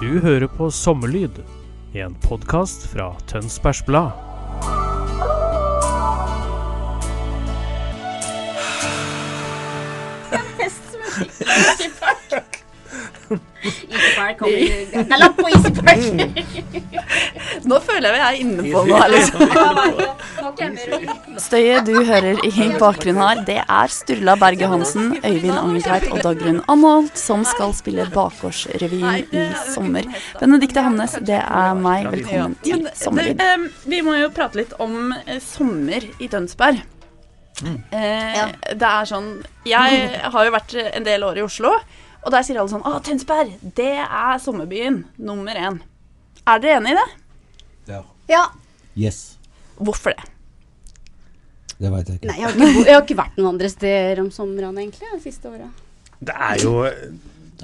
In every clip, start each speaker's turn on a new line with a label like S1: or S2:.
S1: Du hører på Sommerlyd, en podkast fra Tønsbergs Blad.
S2: Easy Park kommer du Nei, lapp på Easy Park!
S3: Nå føler jeg vi er inne på noe. her, Liksom.
S2: Nå kommer du.
S3: Støyet du hører i bakgrunnen her, det er Sturla Berge Hansen, Øyvind Angeltveit og Dagrun Anholt som skal spille Bakgårdsrevyen i sommer. Benedicte Hamnes, det er meg. Velkommen til Sommerlyd.
S4: Ehm, vi må jo prate litt om eh, sommer i Tønsberg. Eh, Det er sånn Jeg har jo vært en del år i Oslo, og der sier alle sånn Å, Tønsberg, det er sommerbyen nummer én. Er dere enig i det?
S2: Ja.
S5: Yes.
S4: Hvorfor det?
S5: Det veit jeg ikke.
S2: Nei, jeg har, ikke, bo- jeg har ikke vært noen andre steder om sommeren, egentlig, de siste åra.
S6: Det er jo
S5: Nei, det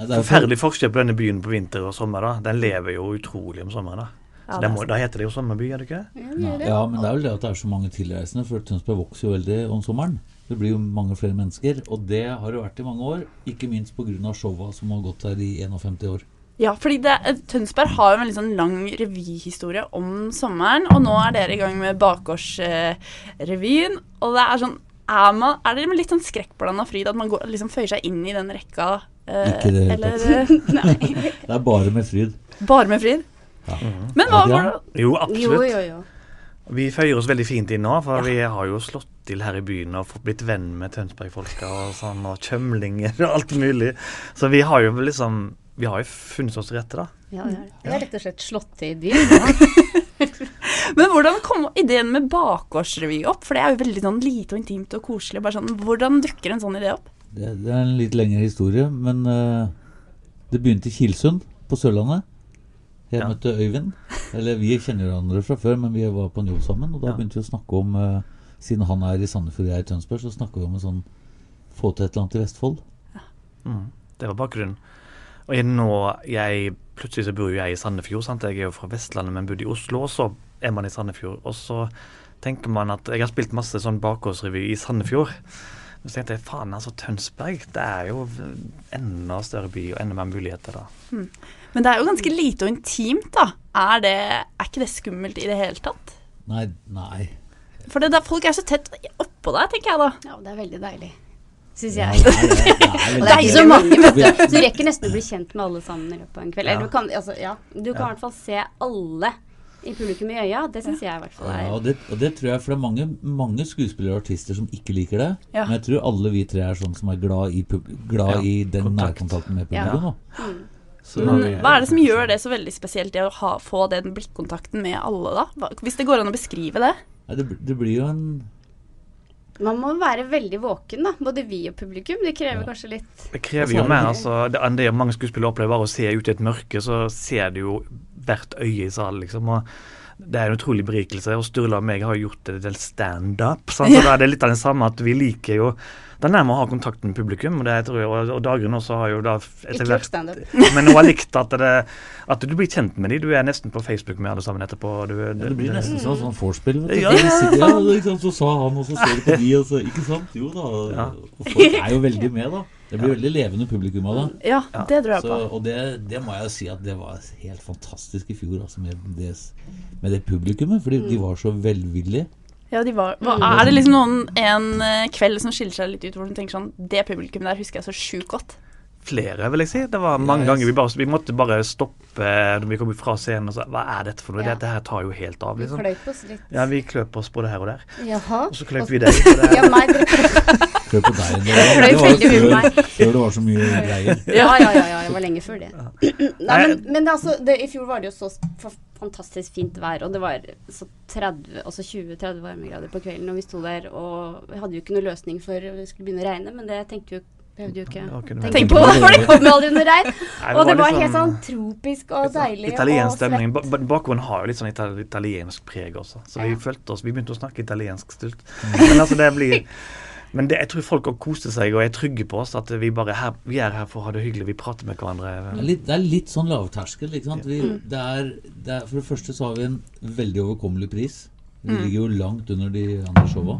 S5: er jo for-
S6: forferdelig forskjell på denne byen på vinter og sommer. da. Den lever jo utrolig om sommeren. Da Så den må, da heter det jo sommerby, er det ikke? det?
S5: Ja, men det er vel det at det er så mange tilreisende, for Tønsberg vokser jo veldig om sommeren. Det blir jo mange flere mennesker, og det har det vært i mange år. Ikke minst pga. showa som har gått her i 51 år.
S4: Ja, fordi det, eh, Tønsberg har jo en veldig sånn lang revyhistorie om sommeren, og nå er dere i gang med Bakgårdsrevyen. Og det er sånn er, man, er det med litt sånn skrekkblanda fryd at man går, liksom føyer seg inn i den rekka? eh,
S5: Ikke i det hele
S4: eller, Nei,
S5: Det er bare med fryd.
S4: bare med fryd? Men hva
S5: Ja, det er-
S4: var det
S6: Jo,
S2: Jo,
S6: absolutt.
S2: jo, jo.
S6: Vi føyer oss veldig fint inn nå, for vi har jo slått til her i byen og fått blitt venn med Tønsberg-folka og sånn, og kjømlinger og alt mulig. Så vi har jo liksom Vi har jo funnet oss til rette, da.
S2: Ja, det er det. Det er rett og slett slått til i by.
S4: Men hvordan kom ideen med bakgårdsrevy opp? For det er jo veldig sånn lite og intimt og koselig. Bare sånn, hvordan dukker en sånn idé opp?
S5: Det, det er en litt lengre historie, men eh, det begynte i Kilsund på Sørlandet. Jeg
S6: Ja.
S5: møtte Øyvind. Eller vi kjenner hverandre fra før, men vi var på en jobb sammen. Og da
S6: Ja.
S5: begynte vi å snakke om eh, Siden han er i Sandefjord og jeg er i Tønsberg, så snakker vi om en sånn få til et eller annet i Vestfold.
S6: Det var bakgrunnen. Og jeg, nå, jeg, plutselig så bor jo jeg i Sandefjord. sant? Jeg er jo fra Vestlandet, men bodde i Oslo, og så er man i Sandefjord. Og så tenker man at Jeg har spilt masse sånn bakgårdsrevy i Sandefjord. Så tenkte jeg faen, altså Tønsberg, det er jo enda større by og enda mer muligheter da.
S4: Men det er jo ganske lite og intimt, da. Er, det, er ikke det skummelt i det hele tatt?
S5: Nei, nei.
S4: For det, der, folk er så tett oppå deg, tenker jeg da.
S2: Ja, det er veldig deilig. Syns jeg.
S5: Nei, det er- det
S2: Det er
S5: er veldig
S2: ikke så
S5: gøy.
S2: mange, vet
S5: Vi-
S2: du. Så du rekker nesten å bli kjent med alle sammen i løpet av en kveld. Eller du kan, altså, ja, du kan i hvert fall se alle i publikum i øya. Det syns jeg i hvert fall
S5: Ja,
S2: er
S5: og det, og det tror jeg, for det er mange, mange skuespillere og artister som ikke liker det.
S4: Ja.
S5: Men jeg tror alle vi tre er sånn som er glad i, pub glad
S6: Ja,
S5: i den
S6: kontakt.
S5: nærkontakten med
S2: Ja.
S5: publikum. da.
S6: Så
S4: Men
S6: når vi-
S4: hva er det som gjør det så veldig spesielt, det å ha, få den blikkontakten med alle, da? Hva, hvis det går an å beskrive det?
S5: Nei, det, bl- det blir jo en
S2: Man må være veldig våken, da. Både vi og publikum. Det krever kanskje litt
S6: Det krever jo mer altså, det, enn det mange skuespillere opplever, bare å se ut i et mørke, så ser du jo hvert øye i salen, liksom. og det er en utrolig berikelse. Og Sturla og meg har jo gjort det til standup. sant? Så da er det litt av det samme at vi liker jo Det er nærmere å ha kontakten med publikum, og det tror jeg, og, og Dagrun også har jo da etter
S2: Ikke gjort
S6: hvert
S2: standup.
S6: Men hun har likt at, det, at du blir kjent med dem. Du er nesten på Facebook med alle sammen etterpå. Du,
S5: Det blir nesten sånn, sånn vorspiel. vet du.
S6: Ja,
S5: Vi
S6: ja,
S5: sitter- ja, ikke sant, så sa han, og så ser du på de, og så Ikke sant? Jo da.
S6: Ja.
S5: Og folk er jo veldig med, da. Det blir veldig levende publikum av det.
S4: Ja, det tror jeg
S5: Så,
S4: på.
S5: og det, det må jeg jo si at det var helt fantastisk i fjor, altså, med det, med det publikummet. Fordi de var så velvillige.
S4: Ja, de var, hva, er det liksom noen en eh, kveld som skiller seg litt ut, hvor du tenker sånn Det publikummet der husker jeg så sjukt godt.
S6: flere, vil jeg si. Det var mange
S5: jeg
S6: ganger vi bare Vi måtte bare stoppe når vi kom fra scenen og sa Hva er dette for noe?
S2: Ja.
S6: Dette her tar jo helt av,
S2: Vi
S6: liksom.
S2: kløyp oss litt. sånn-
S6: Ja, vi kløp oss både her og der.
S2: Jaha.
S6: Og så kløp vi deg. og det-
S2: Ja, meg, dere kløyp
S5: Hør på deg. Det var, det var
S2: veldig mye
S5: jo
S2: meg.
S5: før, før det var så mye greier.
S2: Ja, ja, ja, ja. Jeg var lenge før det. Nei, men, men det, er altså, det, i fjor var det jo så s- for- fantastisk fint vær, og det var så 30, altså 20-30 varmegrader på kvelden, og vi sto der, og vi hadde jo ikke noe løsning for det skulle begynne å regne, men det tenkte jo Behøvde jo ikke
S6: Da kunne vi-
S2: tenke på det, for det kom jo aldri noe regn.
S6: Nei, det
S2: Og det
S6: var
S2: var
S6: liksom-
S2: helt sånn tropisk og deilig. og
S6: sånn Italiensk
S2: flott.
S6: stemning. Ba- ba- Bakgrunnen har jo litt sånn ital italiensk preg også. Så vi følte oss Vi begynte å snakke italiensk stilt. Men altså, det blir Men det, jeg tror folk også koste seg og er trygge på oss. At vi bare er her, vi er her for å ha det hyggelig. Vi prater med hverandre.
S5: Det er litt, det er litt sånn lavterskel. Ikke sant? Vi,
S6: Mm.
S5: det er, det er, for det første så har vi en veldig overkommelig pris. Vi
S6: Mm.
S5: ligger jo langt under de andre showa.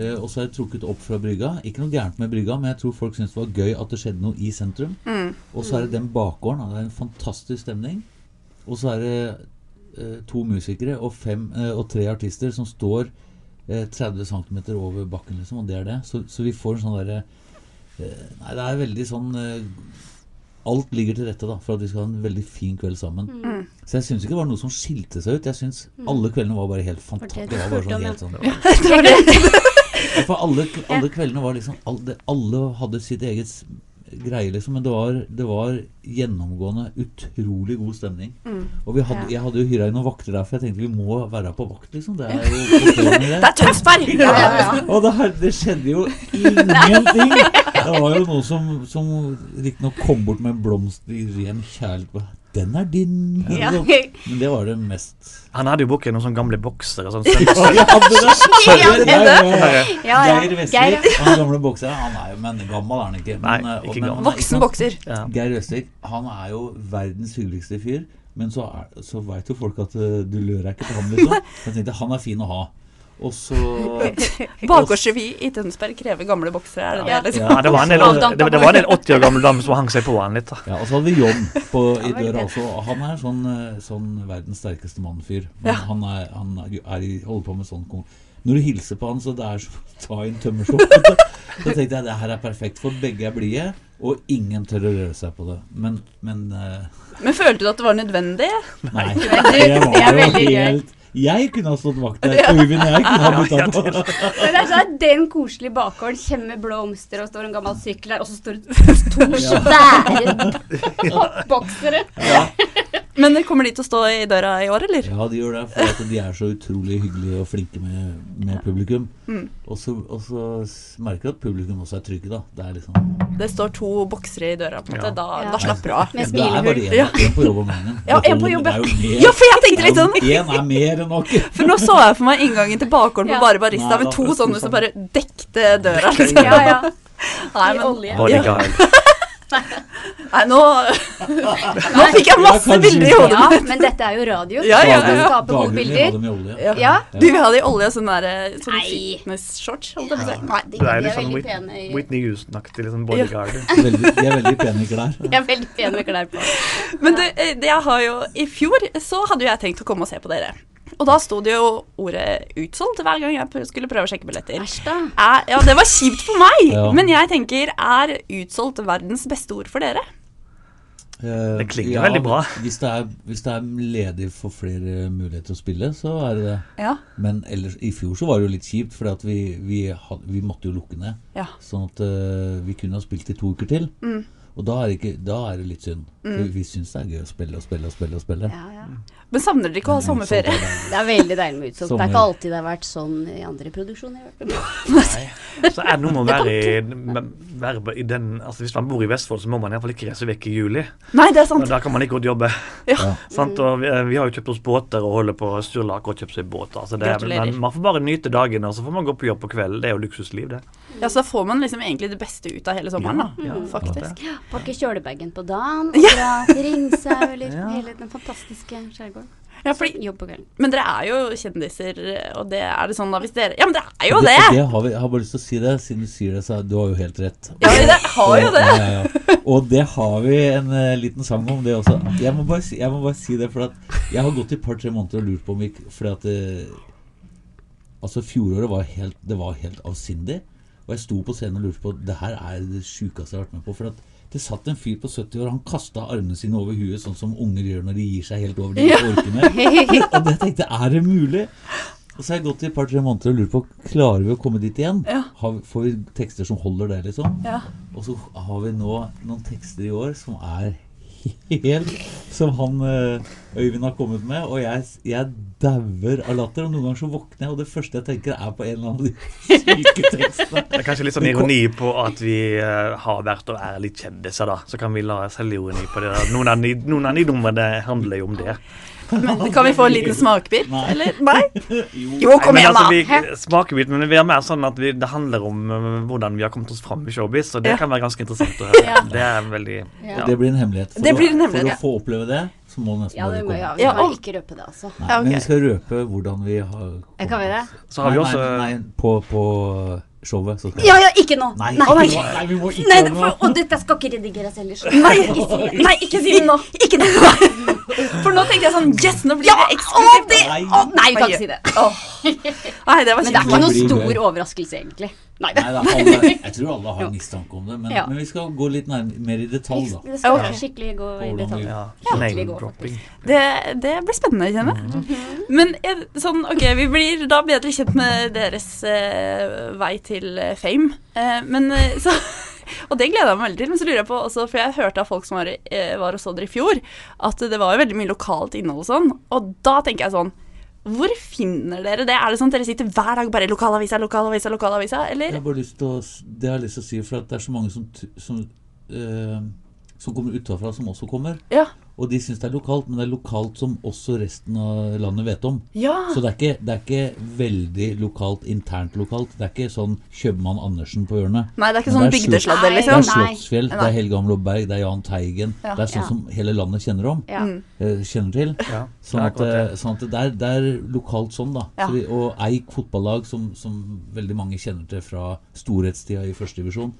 S5: Eh, og så er det trukket opp fra brygga. Ikke noe gærent med brygga, men jeg tror folk syntes det var gøy at det skjedde noe i sentrum.
S7: Mm.
S5: Og så er det den bakgården. og Det er en fantastisk stemning. Og så er det eh, to musikere og, fem, eh, og tre artister som står eh, 30 cm over bakken, liksom, og det er det. Så, så vi får en sånn derre eh, Nei, det er veldig sånn eh, Alt ligger til rette da, for at vi skal ha en veldig fin kveld sammen.
S7: Mm.
S5: Så jeg syns ikke det var noe som skilte seg ut. Jeg syns
S7: Mm.
S5: alle kveldene var bare helt
S7: det
S5: fantastiske.
S7: du
S5: Det var bare
S7: spurte om,
S5: sånn
S7: ja.
S5: helt sånn
S7: Ja, det var det.
S5: Ja, For alle, alle kveldene var liksom alle, alle hadde sitt eget s- greie, liksom. Men det var, det var gjennomgående utrolig god stemning.
S7: Mm.
S5: Og vi hadde,
S7: Ja.
S5: jeg hadde jo hyra inn noen vakter der, for jeg tenkte vi må være på vakt, liksom. Det er jo det
S7: er Tønsberg!
S5: Ja, ja, ja. Og det, her, det skjedde jo ingenting! Det var jo noen som, som riktignok kom bort med en blomst i ren kjærlighet. Den er din!
S6: Ja.
S5: Men det var det mest
S6: Han hadde jo booket noen sånne gamle boksere. Sånn
S5: Ja, jeg hadde det. Skjønner du? Nei, ja, ja.
S6: Ja, ja.
S5: Geir
S6: Geir,
S5: Vestvik,
S6: ja.
S5: han gamle bokseren, han er jo men gammel er han ikke. Men,
S6: Nei,
S5: eh,
S6: ikke
S5: men-
S6: gammel.
S5: nei,
S6: Voksen
S5: sant?
S6: bokser. Ja.
S5: Geir Vestvik, han er jo verdens hyggeligste fyr, men så, er- så veit jo folk at eh, du lurer ikke på ham, liksom. Jeg tenkte han er fin å ha. Og så
S4: Bakgårdsrevy i Tønsberg krever gamle boksere, er det det? liksom?
S6: Ja, det var en del, det, det var en del 80 år gamle damer som hang seg på han litt. da.
S5: Ja, og så hadde vi John på, i døra også. og Han er sånn, eh, sånn verdens sterkeste mann-fyr. Men
S6: Ja.
S5: han, er, han er, er, i- holder på med sånn kon- Når du hilser på han, så det er som å ta i en tømmerstokk. vet du. Så tenkte jeg det her er perfekt, for begge er blide, og ingen tør å røre seg på det. Men, men eh,
S4: Men følte du at det var nødvendig?
S5: Nei.
S4: du,
S5: Det var jo
S4: veldig gøy.
S5: helt Jeg kunne ha stått vakt der. Og Øyvind og jeg kunne ha bytta på.
S2: Men det er sånn at den koselige bakgården kommer med blomster, og står en gammel sykkel der, og så står det to svære boksere.
S4: Men kommer de til å stå i døra i år, eller?
S5: Ja, de gjør det, for at de er så utrolig hyggelige og flinke med, med publikum.
S4: Mm.
S5: Og så og så s- merker du at publikum også er trygge, da. Det er liksom
S4: Det står to boksere i døra, på en måte. Da,
S5: Ja.
S4: da slapper du av.
S5: Ja, det er bare én
S4: Ja.
S5: én på jobb om gangen.
S4: Ja,
S5: Det
S4: en på
S5: holder,
S4: jobb,
S5: det er jo mer-
S4: ja, for jeg tenkte litt
S5: det er
S4: sånn.
S5: jo- Én er mer enn nok.
S4: For nå så jeg for meg inngangen til bakgården
S5: Ja.
S4: på Bare Barista
S5: Nei,
S4: med
S5: da
S4: to
S5: får du
S4: sånne
S5: spise
S4: som bare
S5: den.
S4: dekte døra. Liksom.
S5: Ja, ja.
S4: Nei,
S2: I
S4: men,
S2: olje.
S6: Bodyguard.
S4: Nei, nå Nå fikk jeg masse bilder i hodet
S2: Ja,
S4: mitt.
S2: men dette er jo radio.
S4: Ja, ja, ja.
S2: Vi skal skape gode bilder.
S4: Ja.
S2: Ja.
S4: Du vil ha det i olje og sånn der sånn fitness-shorts? holdt jeg på å si. Nei,
S6: Det er litt sånn
S2: veldig
S6: Whit-
S2: pene i-
S6: Whitney Houston-aktig liksom bodyguard.
S5: Veldig, de er veldig pene klær.
S2: Jeg er veldig pen med klær på.
S4: Men du, eh, det jeg har jo I fjor så hadde jo jeg tenkt å komme og se på dere. Og da sto det jo ordet 'utsolgt' hver gang jeg prø- skulle prøve å sjekke billetter. Er, ja, Det var kjipt for meg,
S5: Ja.
S4: men jeg tenker er 'utsolgt' verdens beste ord for dere?
S5: Det
S6: klinger veldig bra.
S5: Eh, Hvis det, er, hvis det er ledig for flere muligheter å spille, så er det det.
S4: Ja.
S5: Men ellers, i fjor så var det jo litt kjipt, for vi, vi, had- vi måtte jo lukke ned.
S4: Ja.
S5: Sånn at eh, vi kunne ha spilt i to uker til.
S4: Mm.
S5: Og da er, det ikke, da er det litt synd. For
S4: Mm.
S5: vi syns det er gøy å spille og spille og spille. og spille.
S4: Men savner dere
S6: Mm,
S4: ikke å ha
S5: Men utsolgt
S4: sommerferie?
S5: er deilig.
S2: Det er veldig deilig med utsolgt. Det er ikke
S5: Sommer.
S2: alltid det har vært sånn i andre produksjoner. jeg har vært på.
S6: Så er det noe med å være i, med- være på- i den altså Hvis man bor i Vestfold, så må man iallfall ikke reise vekk i juli.
S4: Nei, det er sant.
S6: Og da kan man ikke godt jobbe.
S4: Ja.
S6: Sant? Og vi, eh, vi har jo kjøpt oss båter og holder på å surle og kjøpt seg båt. Altså det, er-
S4: Gratulerer.
S6: men man får bare nyte dagene, og så får man gå på jobb på kvelden. Det er jo luksusliv, det.
S4: Ja, så da får man liksom egentlig det beste ut av hele sommeren, da. Mm,
S6: Ja, ja.
S4: Faktisk.
S2: Pakke kjølebagen på dagen og dra til Ringsau eller hele den fantastiske skjærgården.
S4: Ja,
S2: Så
S4: fordi-
S2: jobb på kvelden.
S4: Men dere er jo kjendiser, og det er det sånn da hvis dere Ja, men det er jo
S5: det,
S4: det!
S5: det har vi, jeg har bare lyst til å si det, siden du sier det, så du har jo helt rett.
S4: Ja, men det har jo
S5: Og-
S4: det.
S5: Ja, ja, ja. Og det har vi en eh, liten sang om, det også. Jeg må bare si, jeg må bare si det, for at jeg har gått i et par-tre måneder og lurt på om vi Fordi at eh, Altså, fjoråret var helt, det var helt avsindig. Og jeg sto på scenen og lurte på Det her er det sjukeste jeg har vært med på. For at det satt en fyr på 70 år, han kasta armene sine over huet, sånn som unger gjør når de gir seg helt over de
S7: Ja.
S5: ikke orker mer. Og det tenkte jeg, er det mulig? Og så har jeg gått i et par-tre måneder og lurt på klarer vi å komme dit igjen.
S7: Ja.
S5: Har, vi- får vi tekster som holder det, liksom?
S7: Ja.
S5: Og så har vi nå noen tekster i år som er helt Som han eh, Øyvind har kommet med, og jeg, jeg dauer av latter. Og noen ganger så våkner jeg, og det første jeg tenker, er på en eller annen av de syke tekstene.
S6: Det er kanskje litt sånn ironi på at vi eh, har vært og er litt kjendiser, da. Så kan vi la selvironi på det. Noen av de- noen av de numrene handler jo om det.
S4: Men kan vi få en liten smakbit,
S5: Nei.
S4: eller? Nei?
S6: Nei,
S4: Jo, kom
S6: men
S4: igjen,
S6: altså,
S4: da.
S6: vi
S4: Hæ?
S6: smakebit, men vi er mer sånn at vi, det handler om eh, hvordan vi har kommet oss fram i showbiz, og det
S4: Ja.
S6: kan være ganske interessant å høre.
S4: Ja.
S6: Det er veldig ja.
S5: Og det blir en hemmelighet. For,
S4: Det blir en
S5: å-
S4: hemmelighet, ja.
S5: for å få oppleve det, så må du nesten
S2: Ja,
S5: bare
S2: det må
S5: komme.
S2: ja, vi
S4: Ja,
S2: kan
S4: og-
S2: ikke røpe det, altså.
S5: Nei, Men vi skal røpe hvordan vi har
S2: Jeg kan være
S6: Så har vi
S5: Nei,
S6: også-
S5: Nei, nei, på, på showet. Så skal
S2: Ja, ja, ikke nå!
S5: Nei,
S2: Nei.
S5: ikke nå. Nei, vi må ikke
S2: Nei,
S5: gjøre
S2: for,
S5: noe.
S2: og dette skal ikke redigeres ellers.
S4: Nei,
S2: ikke si det.
S4: nei, ikke si det nå.
S2: Ikke det.
S4: For nå tenkte jeg sånn Yes, nå blir
S2: Ja,
S4: det eksklusivt.
S2: å, det- Nei. å, nei, vi kan ikke si det.
S4: Nei, det var
S2: Men det er
S4: kjipt.
S2: ikke noen
S5: Det blir
S2: stor
S5: gøy.
S2: overraskelse, egentlig. Nei
S5: Nei, da, alle, jeg tror alle har mistanke om det, men,
S2: Ja.
S5: men vi skal gå litt nærm- mer i detalj, da.
S2: Det skal
S4: Ok.
S2: skikkelig gå i
S5: Hvordan vi-
S2: detalj.
S6: Ja,
S2: Skikkelig gå,
S6: name-dropping.
S4: Det, det blir spennende, kjenner jeg. Men jeg- sånn, ok, vi blir da bedre kjent med deres eh, vei til eh, fame. Eh, men eh, så Og det gleder jeg meg veldig til. Men så lurer jeg på også, for jeg hørte av folk som var, eh, var og så dere i fjor, at det var jo veldig mye lokalt innhold og sånn. Og da tenker jeg sånn Hvor finner dere det? Er det sånn at dere sitter hver dag bare lokalavisa, lokalavisa, lokalavisa?
S5: Jeg
S4: Eller?
S5: har bare lyst til å, s- det har jeg lyst til å si, for at det er så mange som, t- som, eh, som kommer utenfra som også kommer.
S4: Ja.
S5: Og de syns det er lokalt, men det er lokalt som også resten av landet vet om.
S4: Ja.
S5: Så det er, ikke, det er ikke veldig lokalt, internt lokalt. Det er ikke sånn Kjøpmann Andersen på hjørnet.
S4: Nei, det er ikke
S5: Men
S4: sånn bygdesladder,
S5: Slott-
S4: liksom.
S5: Det er Slottsfjell,
S4: Nei.
S5: det er Helge Amlo Berg, det er Jahn Teigen.
S4: Ja.
S5: Det er sånn
S4: Ja.
S5: som hele landet kjenner om.
S2: Ja. Mm.
S5: eh, Kjenner til.
S6: Ja,
S5: Sånn at,
S6: det er akkurat
S5: eh, sånn at det, er, det er lokalt sånn, da.
S4: Ja.
S5: Så vi, og Eik fotballag, som, som veldig mange kjenner til fra storhetstida i førstedivisjon.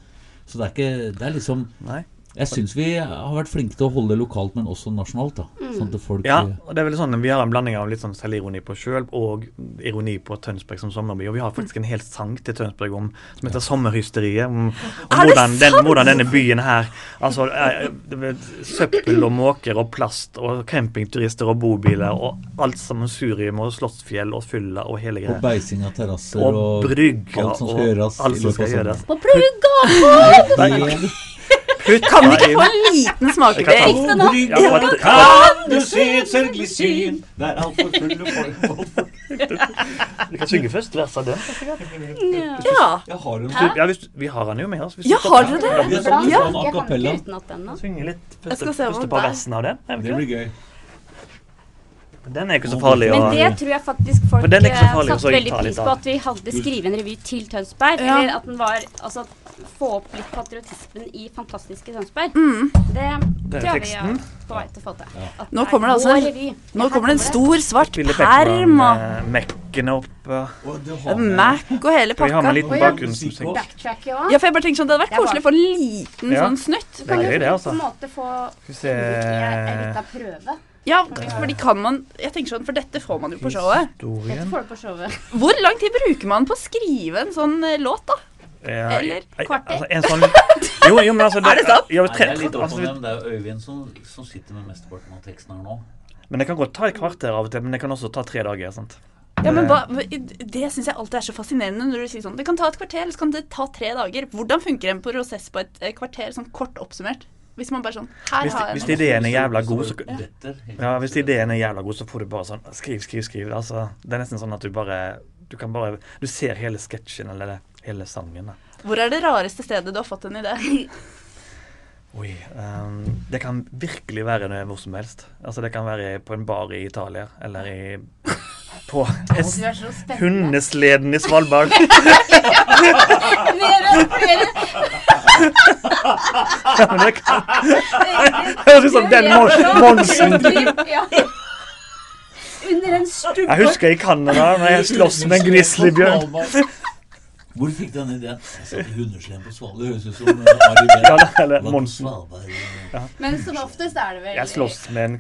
S5: Så det er ikke Det er liksom
S6: Nei.
S5: Jeg syns vi har vært flinke til å holde det lokalt, men også nasjonalt, da. Sånn at folk
S6: Ja, og det er vel sånn Vi har en blanding av litt sånn selvironi på oss sjøl og ironi på Tønsberg som sommerby. Og vi har faktisk en hel sang til Tønsberg om, som heter 'Sommerhysteriet'.
S4: Er
S6: Om, om
S4: det
S6: hvordan, den,
S4: sant?
S6: hvordan denne byen her Altså eh, det er søppel og måker og plast og campingturister og bobiler og alt sammen surium og Slottsfjell og fylla og hele
S5: Og
S6: greia.
S5: beising av terrasser
S6: Og brygger
S5: alt som skal
S6: og
S5: gjøres.
S6: alt
S5: i løpet
S6: som
S5: av
S6: skal gjøres.
S2: På
S5: sommeren.
S2: plugga!
S5: Helt-
S6: Putta
S4: Kan vi ikke
S6: inn-
S4: få en liten
S6: Jeg kan ta
S4: smakebit?
S6: den.
S2: det nå.
S6: Ja, for at-
S5: Kan du se et sørgelig syn der altfor fulle folk
S6: Du kan synge først. Vers av den.
S4: Ja.
S5: Jeg har en
S6: Ja, hvis, vi har han jo med oss. Hvis
S4: Ja,
S6: du
S4: har
S6: stopper-
S4: dere det?
S5: Det er sånn
S4: Ja.
S5: sånn a
S2: Jeg kan
S5: cappella.
S2: ikke utenat den nå.
S6: Synge litt
S4: Jeg
S6: første,
S4: skal se om
S6: første par
S4: det er-
S6: versene av den. er vi
S5: Det
S6: ikke
S5: blir gøy.
S6: det? Den er ikke så farlig.
S2: Men
S6: å-
S2: det tror jeg faktisk folk
S6: Men den er ikke så
S2: eh,
S6: farlig, så
S2: satte
S6: jeg
S2: veldig
S6: tar litt
S2: pris på.
S6: av.
S2: At vi hadde skrevet en revy til Tønsberg.
S4: Ja.
S2: Eller at den var Altså få opp litt patriotismen i fantastiske Tønsberg. Det
S6: Der er
S2: tror jeg vi
S6: teksten.
S2: er på vei til å få til. At
S4: Mm. Nå
S2: er
S4: kommer det altså
S2: vår
S4: en-
S2: revy.
S4: Nå
S2: Her
S4: kommer det en stor, svart
S6: Ville
S4: perm og
S6: Beckman, eh, Mekken opp. eh,
S5: Og du
S4: Det
S5: har
S4: er
S5: med-
S4: Mac og hele
S6: Vi har
S4: pakka.
S6: med litt
S2: Oi, ja.
S6: bakgrunnsmusikk.
S2: Backtracker også.
S4: Ja, for jeg bare tenker sånn, Det hadde vært
S2: Det er
S4: koselig å få en liten
S6: Ja.
S4: sånn snutt.
S6: Det er gøy, det,
S2: På
S6: altså. Eh,
S2: en måte få
S6: Skal vi se
S2: en liten prøve.
S4: Ja, fordi kan man, jeg tenker sånn, For dette får man jo på showet.
S2: Dette
S6: Historien
S2: får du på showet.
S4: Hvor lang tid bruker man på å skrive en sånn eh, låt, da?
S6: Ja,
S4: Eller
S6: ei,
S4: kvarter.
S6: altså, en sånn, jo, jo, men altså,
S4: Er det sant?
S6: Ja, men
S5: Nei,
S6: tre-
S5: det er litt opp
S6: altså,
S5: om
S6: vi-
S5: dem. Det er Øyvind som, som sitter med mesteparten av teksten her nå.
S6: men det kan godt ta et kvarter av og til, men det kan også ta tre dager. sant?
S4: Ja, men hva,
S6: Eh.
S4: Det syns jeg alltid er så fascinerende. når du sier sånn, Det kan ta et kvarter, eller så kan det ta tre dager. Hvordan funker en prosess på et eh, kvarter, sånn kort oppsummert? Hvis man bare sånn Her
S6: Hvis,
S4: har
S6: hvis
S4: jeg
S6: ideen er jævla god, så
S5: Detter helt
S6: Ja, hvis ideen er jævla god, så får du bare sånn Skriv, skriv, skriv. Altså, det er nesten sånn at du bare Du kan bare Du ser hele sketsjen eller det, hele sangen. Da.
S4: noe. Hvor er det rareste stedet du har fått en idé?
S6: Oi, ehm, det kan virkelig være noe hvor som helst. Altså, det kan være på en bar i Italia, eller i på
S2: Du er så spennende.
S6: hundesleden i Svalbard.
S2: Flere og flere.
S6: Men det kan- Høres ut som den mon- monsen.
S2: Ja. Under en stubbe.
S6: Jeg husker i Canada når jeg sloss med en grizzlybjørn.
S5: Hvor fikk du den ideen? Jeg satt i hundeslem på Svalbard. Det høres ut som eh, Ari Behn.
S6: Ja, det- eller
S5: Var på
S6: Monsen.
S5: Svalbard, eh,
S2: Men som oftest er det vel
S6: Jeg sloss med en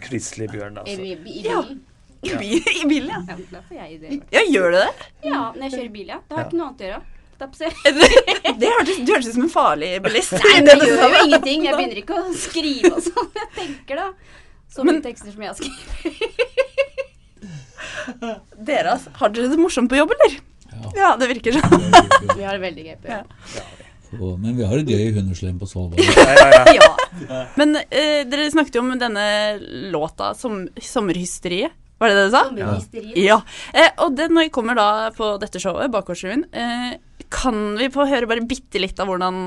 S2: i,
S6: grizzlybjørn, altså.
S2: i bilen.
S4: I bil- i bilen, ja.
S2: Ja, da får jeg ideer.
S4: Ja, gjør du det?
S2: Ja, når jeg kjører bil, ja. Det har ikke noe annet å gjøre. Stopp, se.
S4: Det hørtes, du hørtes ut som en farlig bilist.
S2: Nei, det gjør jo ingenting. Jeg begynner ikke å skrive og sånn. Jeg tenker da. Så mye tekster som jeg har skrevet.
S4: Dere, altså, har dere det morsomt på jobb, eller? Ja, det virker sånn.
S2: Vi har det veldig gøy på jobb.
S5: Og, men vi har det gøy i hundeslem på Svalbard.
S4: ja. Men eh, dere snakket jo om denne låta som, 'Sommerhysteriet'. Var det det du sa?
S5: Sommerhysteriet.
S4: Ja. Eh, og den når vi kommer da på dette showet, Bakgårdsrevyen, eh, kan vi få høre bare bitte litt av hvordan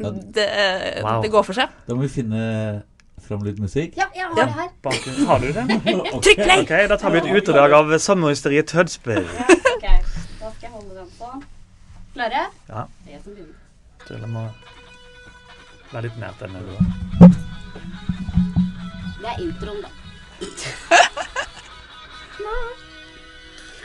S5: Ja.
S4: det, eh, det går for seg?
S5: Da må vi finne fram litt musikk.
S4: Ja, jeg har det her.
S6: Bakgrunn- Har du det?
S4: Trykk play!
S6: Ok, Da tar vi et utdrag av sommerhysteriet Tødsberg.
S2: Ok, da skal jeg holde den på. Klare?
S6: Ja.
S2: Det er jeg som begynner.
S6: Tuller må være litt nært denne.
S2: Det er introen, da.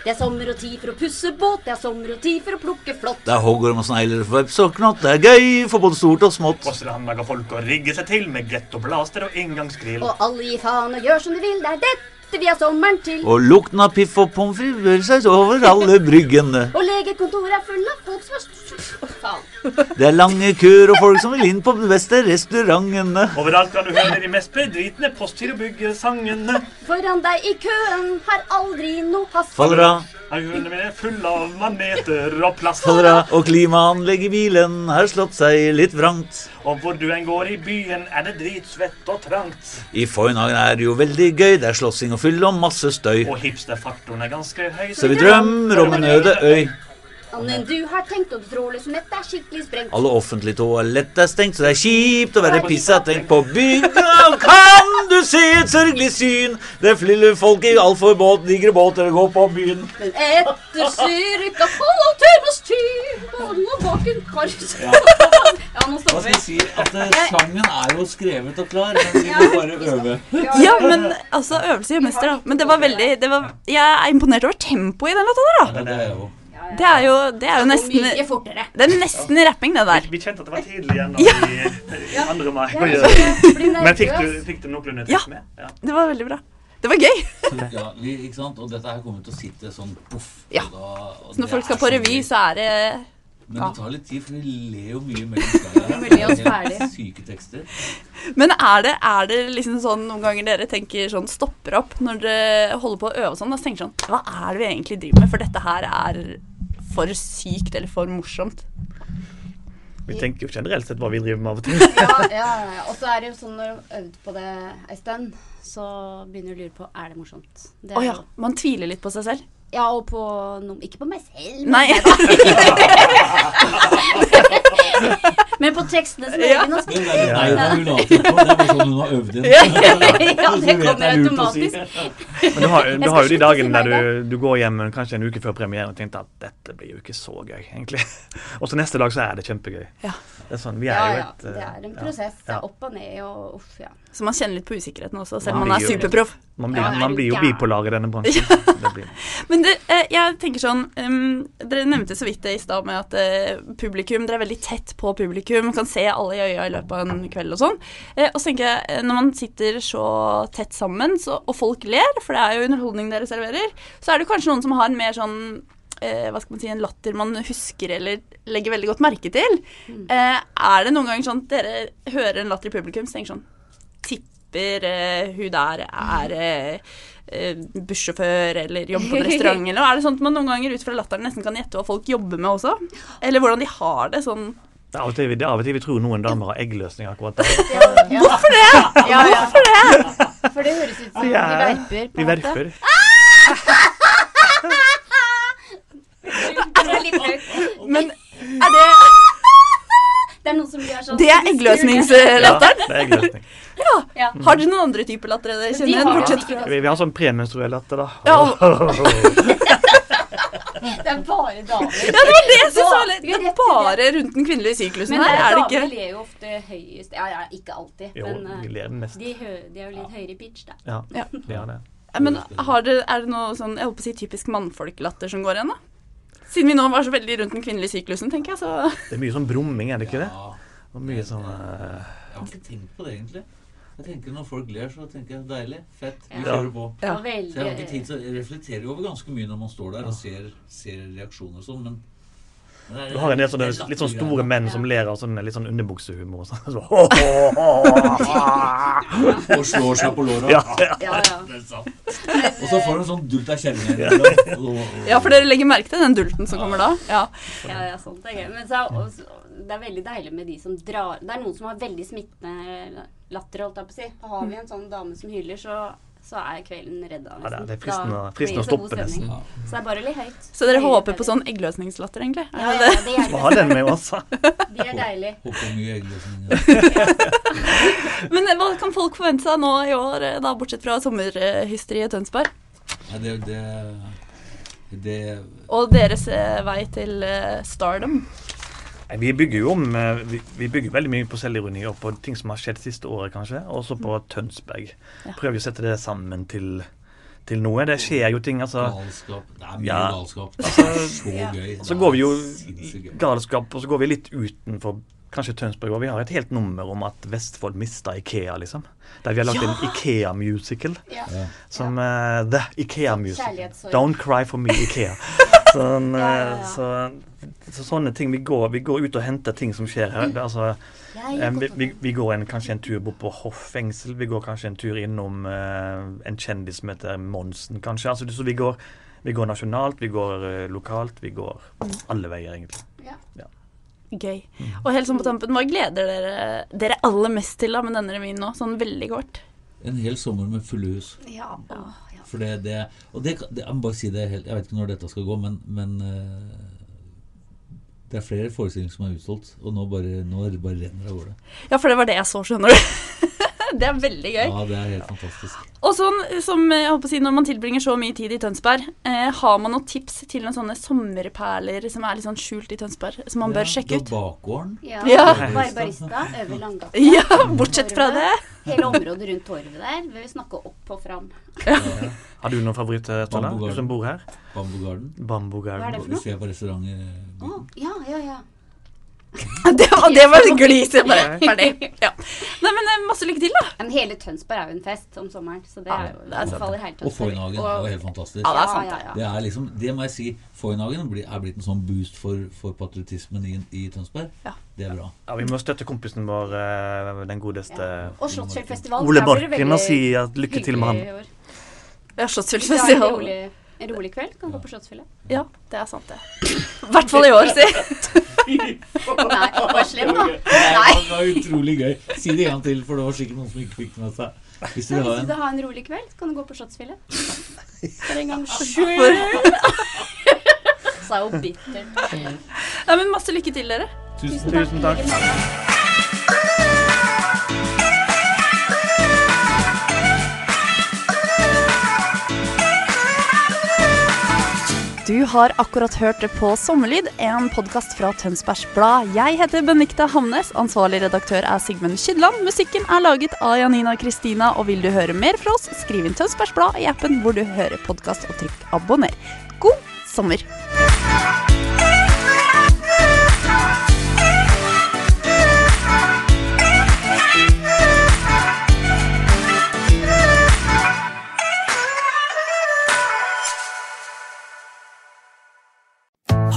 S2: Det er sommer og tid for å pusse båt, det er sommer og tid for å plukke flått.
S5: Det er hoggorm og snegler og veps og knott. Det er gøy for både stort og smått.
S6: Strandlager folk og rigger seg til med grett og blaster og engangsgrill.
S2: Og alle gir faen og gjør som de vil, det er dette vi har sommeren til.
S5: Og lukten av piff og pommes frites rører seg over alle bryggene.
S2: Og legekontoret er full av folk som er st- Å, faen.
S5: Det er lange køer og folk som vil inn på de beste restaurantene.
S6: Overalt kan du høre de mest bedritne postgirobyggesangene.
S2: Foran deg i køen har aldri noe hast.
S5: Faller av.
S6: Hjulene mine er fulle av maneter og plast.
S5: Fadra og klimaanlegg i bilen har slått seg litt vrangt.
S6: Og hvor du enn går i byen, er det dritsvett og trangt.
S5: I Foynhagen er det jo veldig gøy. Det er slåssing og fyll og masse støy.
S6: Og hipsterfaktoren er ganske høy.
S5: Så vi drømmer om en øde øy.
S2: Annen du har tenkt, og trådløse nett er skikkelig sprengt.
S5: Alle offentlige toalett er stengt, så det er kjipt å være pissa. Tenk på bygda, kan du se et sørgelig syn? Det flyr folk i altfor båt, digre båter og går på byen.
S2: Men etter cirka halv times tid Alle bak en karus.
S5: Ja.
S2: ja, nå stopper vi.
S5: si? At eh, sangen er jo skrevet og klar, men vi må bare øve.
S4: Ja, men altså, øvelse gjør mester, da. Men det var veldig det var, Jeg er imponert over tempoet i den låta der, da.
S5: det er jo
S4: Det er jo, det er jo nesten
S2: Mye fortere.
S4: Det er nesten rapping, det der.
S6: Vi kjente at det var tidlig igjen når vi i eh, andre mai.
S2: Det er sånn, jeg blir
S6: Men fikk du,
S2: nervøs.
S6: fikk du noenlunde
S4: Ja.
S6: trykk med? Ja.
S4: Det var veldig bra. Det var gøy.
S5: Ja, vi, ikke sant? Og dette her kommer til å sitte sånn poff.
S4: Ja.
S5: og da- og
S4: Så når
S5: det
S4: folk
S5: er
S4: skal på
S5: så
S4: revy,
S5: gøy.
S4: så er det ja.
S5: Men det tar litt tid, for vi ler jo mye mellom skalaer.
S4: Vi ler oss
S5: Det er helt
S4: ferdig.
S5: Syke tekster.
S4: Men er det, er det liksom sånn noen ganger dere tenker sånn stopper opp når dere holder på å øve og sånn? Da tenker sånn Hva er det vi egentlig driver med? For dette her er for sykt eller for morsomt.
S6: Vi tenker jo generelt sett hva vi driver med av og til.
S2: Ja, ja, ja. Og så er det jo sånn når du har øvd på det ei stund, så begynner du å lure på er det morsomt. Det
S4: Å
S2: er
S4: ja.
S2: jo-
S4: Man tviler litt på seg selv.
S2: ja, og på noen Ikke på meg selv, men,
S4: Nei.
S2: men på tekstene som
S4: Ja.
S2: egen har
S5: Det
S2: skrevet.
S5: er nei, det er hun later på. Det er bare sånn hun har øvd inn.
S2: Ja,
S5: Så
S2: det
S5: vet
S2: kommer
S5: jeg lurt å
S2: automatisk.
S6: Men du har,
S2: Jeg
S6: du
S2: skal
S6: har
S2: slutte
S6: jo de
S2: å si
S6: dagene
S2: nei,
S6: der du, du går hjem kanskje en uke før premieren og tenker at dette blir jo ikke så gøy, egentlig. Og så neste dag så er det kjempegøy. Det er sånn, vi er
S2: Ja,
S6: jo
S2: ja.
S6: et
S2: Det
S6: eh,
S2: er en
S6: ja.
S2: prosess. Det
S6: Ja.
S2: er opp og ned og uff, ja.
S4: Så man kjenner litt på usikkerheten også, selv om
S6: Man
S4: man er
S6: blir jo-
S4: superproff.
S6: Man blir,
S2: Ja, er
S6: man
S2: du
S6: blir jo
S2: gæren?
S6: bipolar i denne bransjen. Det blir.
S4: Men det, eh, jeg tenker sånn ehm, Dere nevnte så vidt det i stad med at eh, publikum Dere er veldig tett på publikum, kan se alle i øya i løpet av en kveld og sånn. Eh, og så tenker jeg, eh, når man sitter så tett sammen, så, og folk ler, for det er jo underholdning dere serverer, så er det kanskje noen som har en mer sånn eh, hva skal man si, En latter man husker eller legger veldig godt merke til. Eh, er det noen ganger sånn at dere hører en latter i publikum, så tenker sånn Tipper eh, hun der er eh, eh, bussjåfør eller jobber på en restaurant, eller noe? Er det sånn at man noen ganger ut fra latteren nesten kan gjette hva folk jobber med også? Eller hvordan de har det sånn
S6: Det er av og til vi- det er av og til vi tror noen damer har eggløsning akkurat der.
S4: Hvorfor det?!
S2: Ja, ja.
S4: Hvorfor det?!
S2: For det høres ut som
S6: Vi
S2: de
S6: er-
S2: verper. på
S6: Vi
S2: en måte.
S6: verper.
S2: Det er litt høyt.
S4: Men er det
S2: Det er noen som gjør sånn
S4: Det er eggløsningslatteren?
S6: Ja, det er eggløsning.
S2: Ja.
S4: Har dere noen andre typer latter dere
S2: De
S4: kjenner
S2: har
S4: igjen,
S2: jo
S4: bortsett fra
S2: ikke-
S6: Vi, vi har sånn premenstruell latter, da.
S4: ja,
S2: Det er bare damer.
S4: ja, det var det jeg syntes var litt
S2: Vi
S4: Det
S2: vet
S4: er bare rundt den kvinnelige syklusen
S2: Men
S4: her, er det
S2: damer
S4: ikke?
S2: ler jo ofte høyest Ja, ja, ikke alltid,
S6: Jo,
S2: men
S6: vi
S2: eh,
S6: ler mest.
S2: de, hø de er jo litt høyere i pitch, da.
S6: Ja,
S4: Ja.
S6: vi har det.
S4: Men har dere, er det noe sånn, jeg holdt på å si typisk mannfolklatter som går igjen, da? Siden vi nå var så veldig rundt den kvinnelige syklusen, tenker jeg, så
S6: Det er mye sånn brumming, er det ikke det?
S5: Ja,
S6: Og mye sånn eh,
S5: jeg har ikke tenkt på det, egentlig. Jeg tenker Når folk ler, så tenker jeg deilig, fett, vi
S2: Ja.
S5: kjører på.
S4: Ja.
S2: Og
S5: Så jeg har ikke
S2: veldig
S5: tid til å reflektere over ganske mye når man står der og ser, ser reaksjoner og sånn, men
S6: Du har en del sånne litt sånn store menn som ler av sånn litt sånn underbuksehumor. og sånn. Så,
S5: Og slår seg på låra.
S6: Ja,
S4: Ja,
S6: ja.
S4: ja.
S5: Og så får du en sånn dult av kjerringa.
S4: Ja, for dere legger merke til den dulten som kommer da? Ja.
S2: Ja, ja, sånt er gøy. Men så er også, det er veldig deilig med de som drar Det er noen som har veldig smittende latter, holdt jeg på å si. Har vi en sånn dame som hyler, så, så er kvelden redda.
S6: Ja, det er- det er
S2: Da
S6: fristende å-
S2: blir
S6: fristende å
S2: så god
S6: stoppe
S2: stemning.
S6: nesten.
S2: Så det er bare å le høyt.
S4: Så dere
S2: Høylytt
S4: håper
S2: er
S4: på
S2: det.
S4: sånn eggløsningslatter, egentlig? Er
S2: Ja, ja,
S4: det-
S2: det hjelper.
S6: Må ha den med også.
S2: De er deilige.
S5: Håper mye eggløsning.
S4: Men eh, hva kan folk forvente seg nå i år, eh, da, bortsett fra sommerhysteriet i Tønsberg?
S5: Nei, det, det, det
S4: Og deres eh, vei til eh, stardom?
S6: Nei, Vi bygger jo om eh, Vi, vi bygger veldig mye på selvironi og på ting som har skjedd siste året, kanskje. Og så
S5: Mm.
S6: på Tønsberg. Prøver å sette det sammen til, til noe. Det skjer jo ting, altså.
S5: Galskap. Det er mye galskap. Det er så gøy.
S6: Så
S5: Det er
S6: går vi jo
S5: sinnssykt gøy.
S6: galskap, og så går vi litt utenfor kanskje Tønsberg. Og vi har et helt nummer om at Vestfold mista Ikea, liksom. Der vi har lagt en
S2: Ja!
S6: Ikea-musical.
S2: Ja.
S6: Som eh, The Ikea Musical.
S2: Kjærlighetssorg.
S6: Don't cry for me, Ikea. Sånn, eh, Så, så sånne ting. Vi går, vi går ut og henter ting som skjer her. Det er Altså,
S2: Mm. Jeg
S6: eh,
S2: har
S6: vi,
S2: gått
S6: vi, vi går en, kanskje en tur bort på Hoff fengsel. Vi går kanskje en tur innom eh, en kjendis som heter Monsen, kanskje. Altså, så vi går, vi går nasjonalt, vi går eh, lokalt, vi går
S2: Mm.
S6: alle veier, egentlig.
S4: Gøy. Og helt sånn på tampen, hva gleder dere dere aller mest til da med denne revyen nå? Sånn veldig kort.
S5: En hel sommer med fulle hus.
S4: Ja.
S5: For det, det, og det, det, jeg må bare si det helt Jeg vet ikke når dette skal gå, men, men eh, det er flere forestillinger som er utsolgt. Og nå bare, nå bare renner det av gårde.
S4: Ja, for det var det jeg så, skjønner du. det er veldig gøy.
S5: Ja, det er helt fantastisk.
S4: Og sånn som eh, jeg holdt på å si, når man tilbringer så mye tid i Tønsberg, eh, har man noen tips til noen sånne sommerperler som er litt sånn skjult i Tønsberg, som man bør sjekke ut?
S5: Bakgården.
S2: Ja.
S4: Ja.
S2: Barbarista over Langgata.
S4: Ja, bortsett fra
S2: Torvet.
S4: det.
S2: Hele området rundt torvet der vil vi snakke opp og fram.
S6: Har du noen favoritt, eh, Ståle?
S5: Bambugarden.
S6: Du som bor her?
S5: Bambugarden.
S6: Bambugarden.
S2: Hva er det for noe?
S5: Hvis vi er på restaurant eh,
S4: Mm.
S2: Å, ja, ja, ja.
S4: det var, det var glis. jeg Bare, ferdig. Ja. Nei, men eh, masse lykke til, da.
S2: Men hele Tønsberg er jo en fest om sommeren, så det er jo
S4: det er sant.
S2: faller helt
S5: Og Foynhagen er jo helt fantastisk.
S4: Ja, det er sant,
S2: Ja, ja, ja.
S5: Det er liksom, det må jeg si, Foynhagen blir- er blitt en sånn boost for, for patriotismen i, i Tønsberg. Det er bra.
S6: Ja, vi må støtte kompisen vår, eh, den godeste
S2: Og Slottsfjellfestival. der
S6: Ole
S2: blir det
S6: Marken,
S2: veldig
S6: og si at lykke til med han.
S2: hyggelig i år.
S4: Ja, Slottsfjellfestival.
S2: Vi har en rolig- En rolig kveld. Kan gå på Slottsfjellet.
S4: Ja, det er sant, det. I hvert fall i år, si.
S2: Nei, vær slem, da.
S5: Nei. Det var utrolig gøy. Si det en gang til, for det var sikkert noen som ikke fikk det med seg. Hvis
S2: Nei, hvis du
S5: dere har en
S2: vil ha en rolig kveld, kan du gå på Slottsfjellet. For en gangs
S4: For-
S2: skyld. Sa jo bittert.
S4: Nei, men masse lykke til, dere.
S5: Tusen
S6: takk. Tusen takk.
S3: Du har akkurat hørt på Sommerlyd, en podkast fra Tønsbergs Blad. Jeg heter Benikta Hamnes, ansvarlig redaktør er Sigmund Kydland. Musikken er laget av Janina Kristina, og vil du høre mer fra oss, skriv inn Tønsbergs Blad i appen hvor du hører podkast, og trykk abonner. God sommer!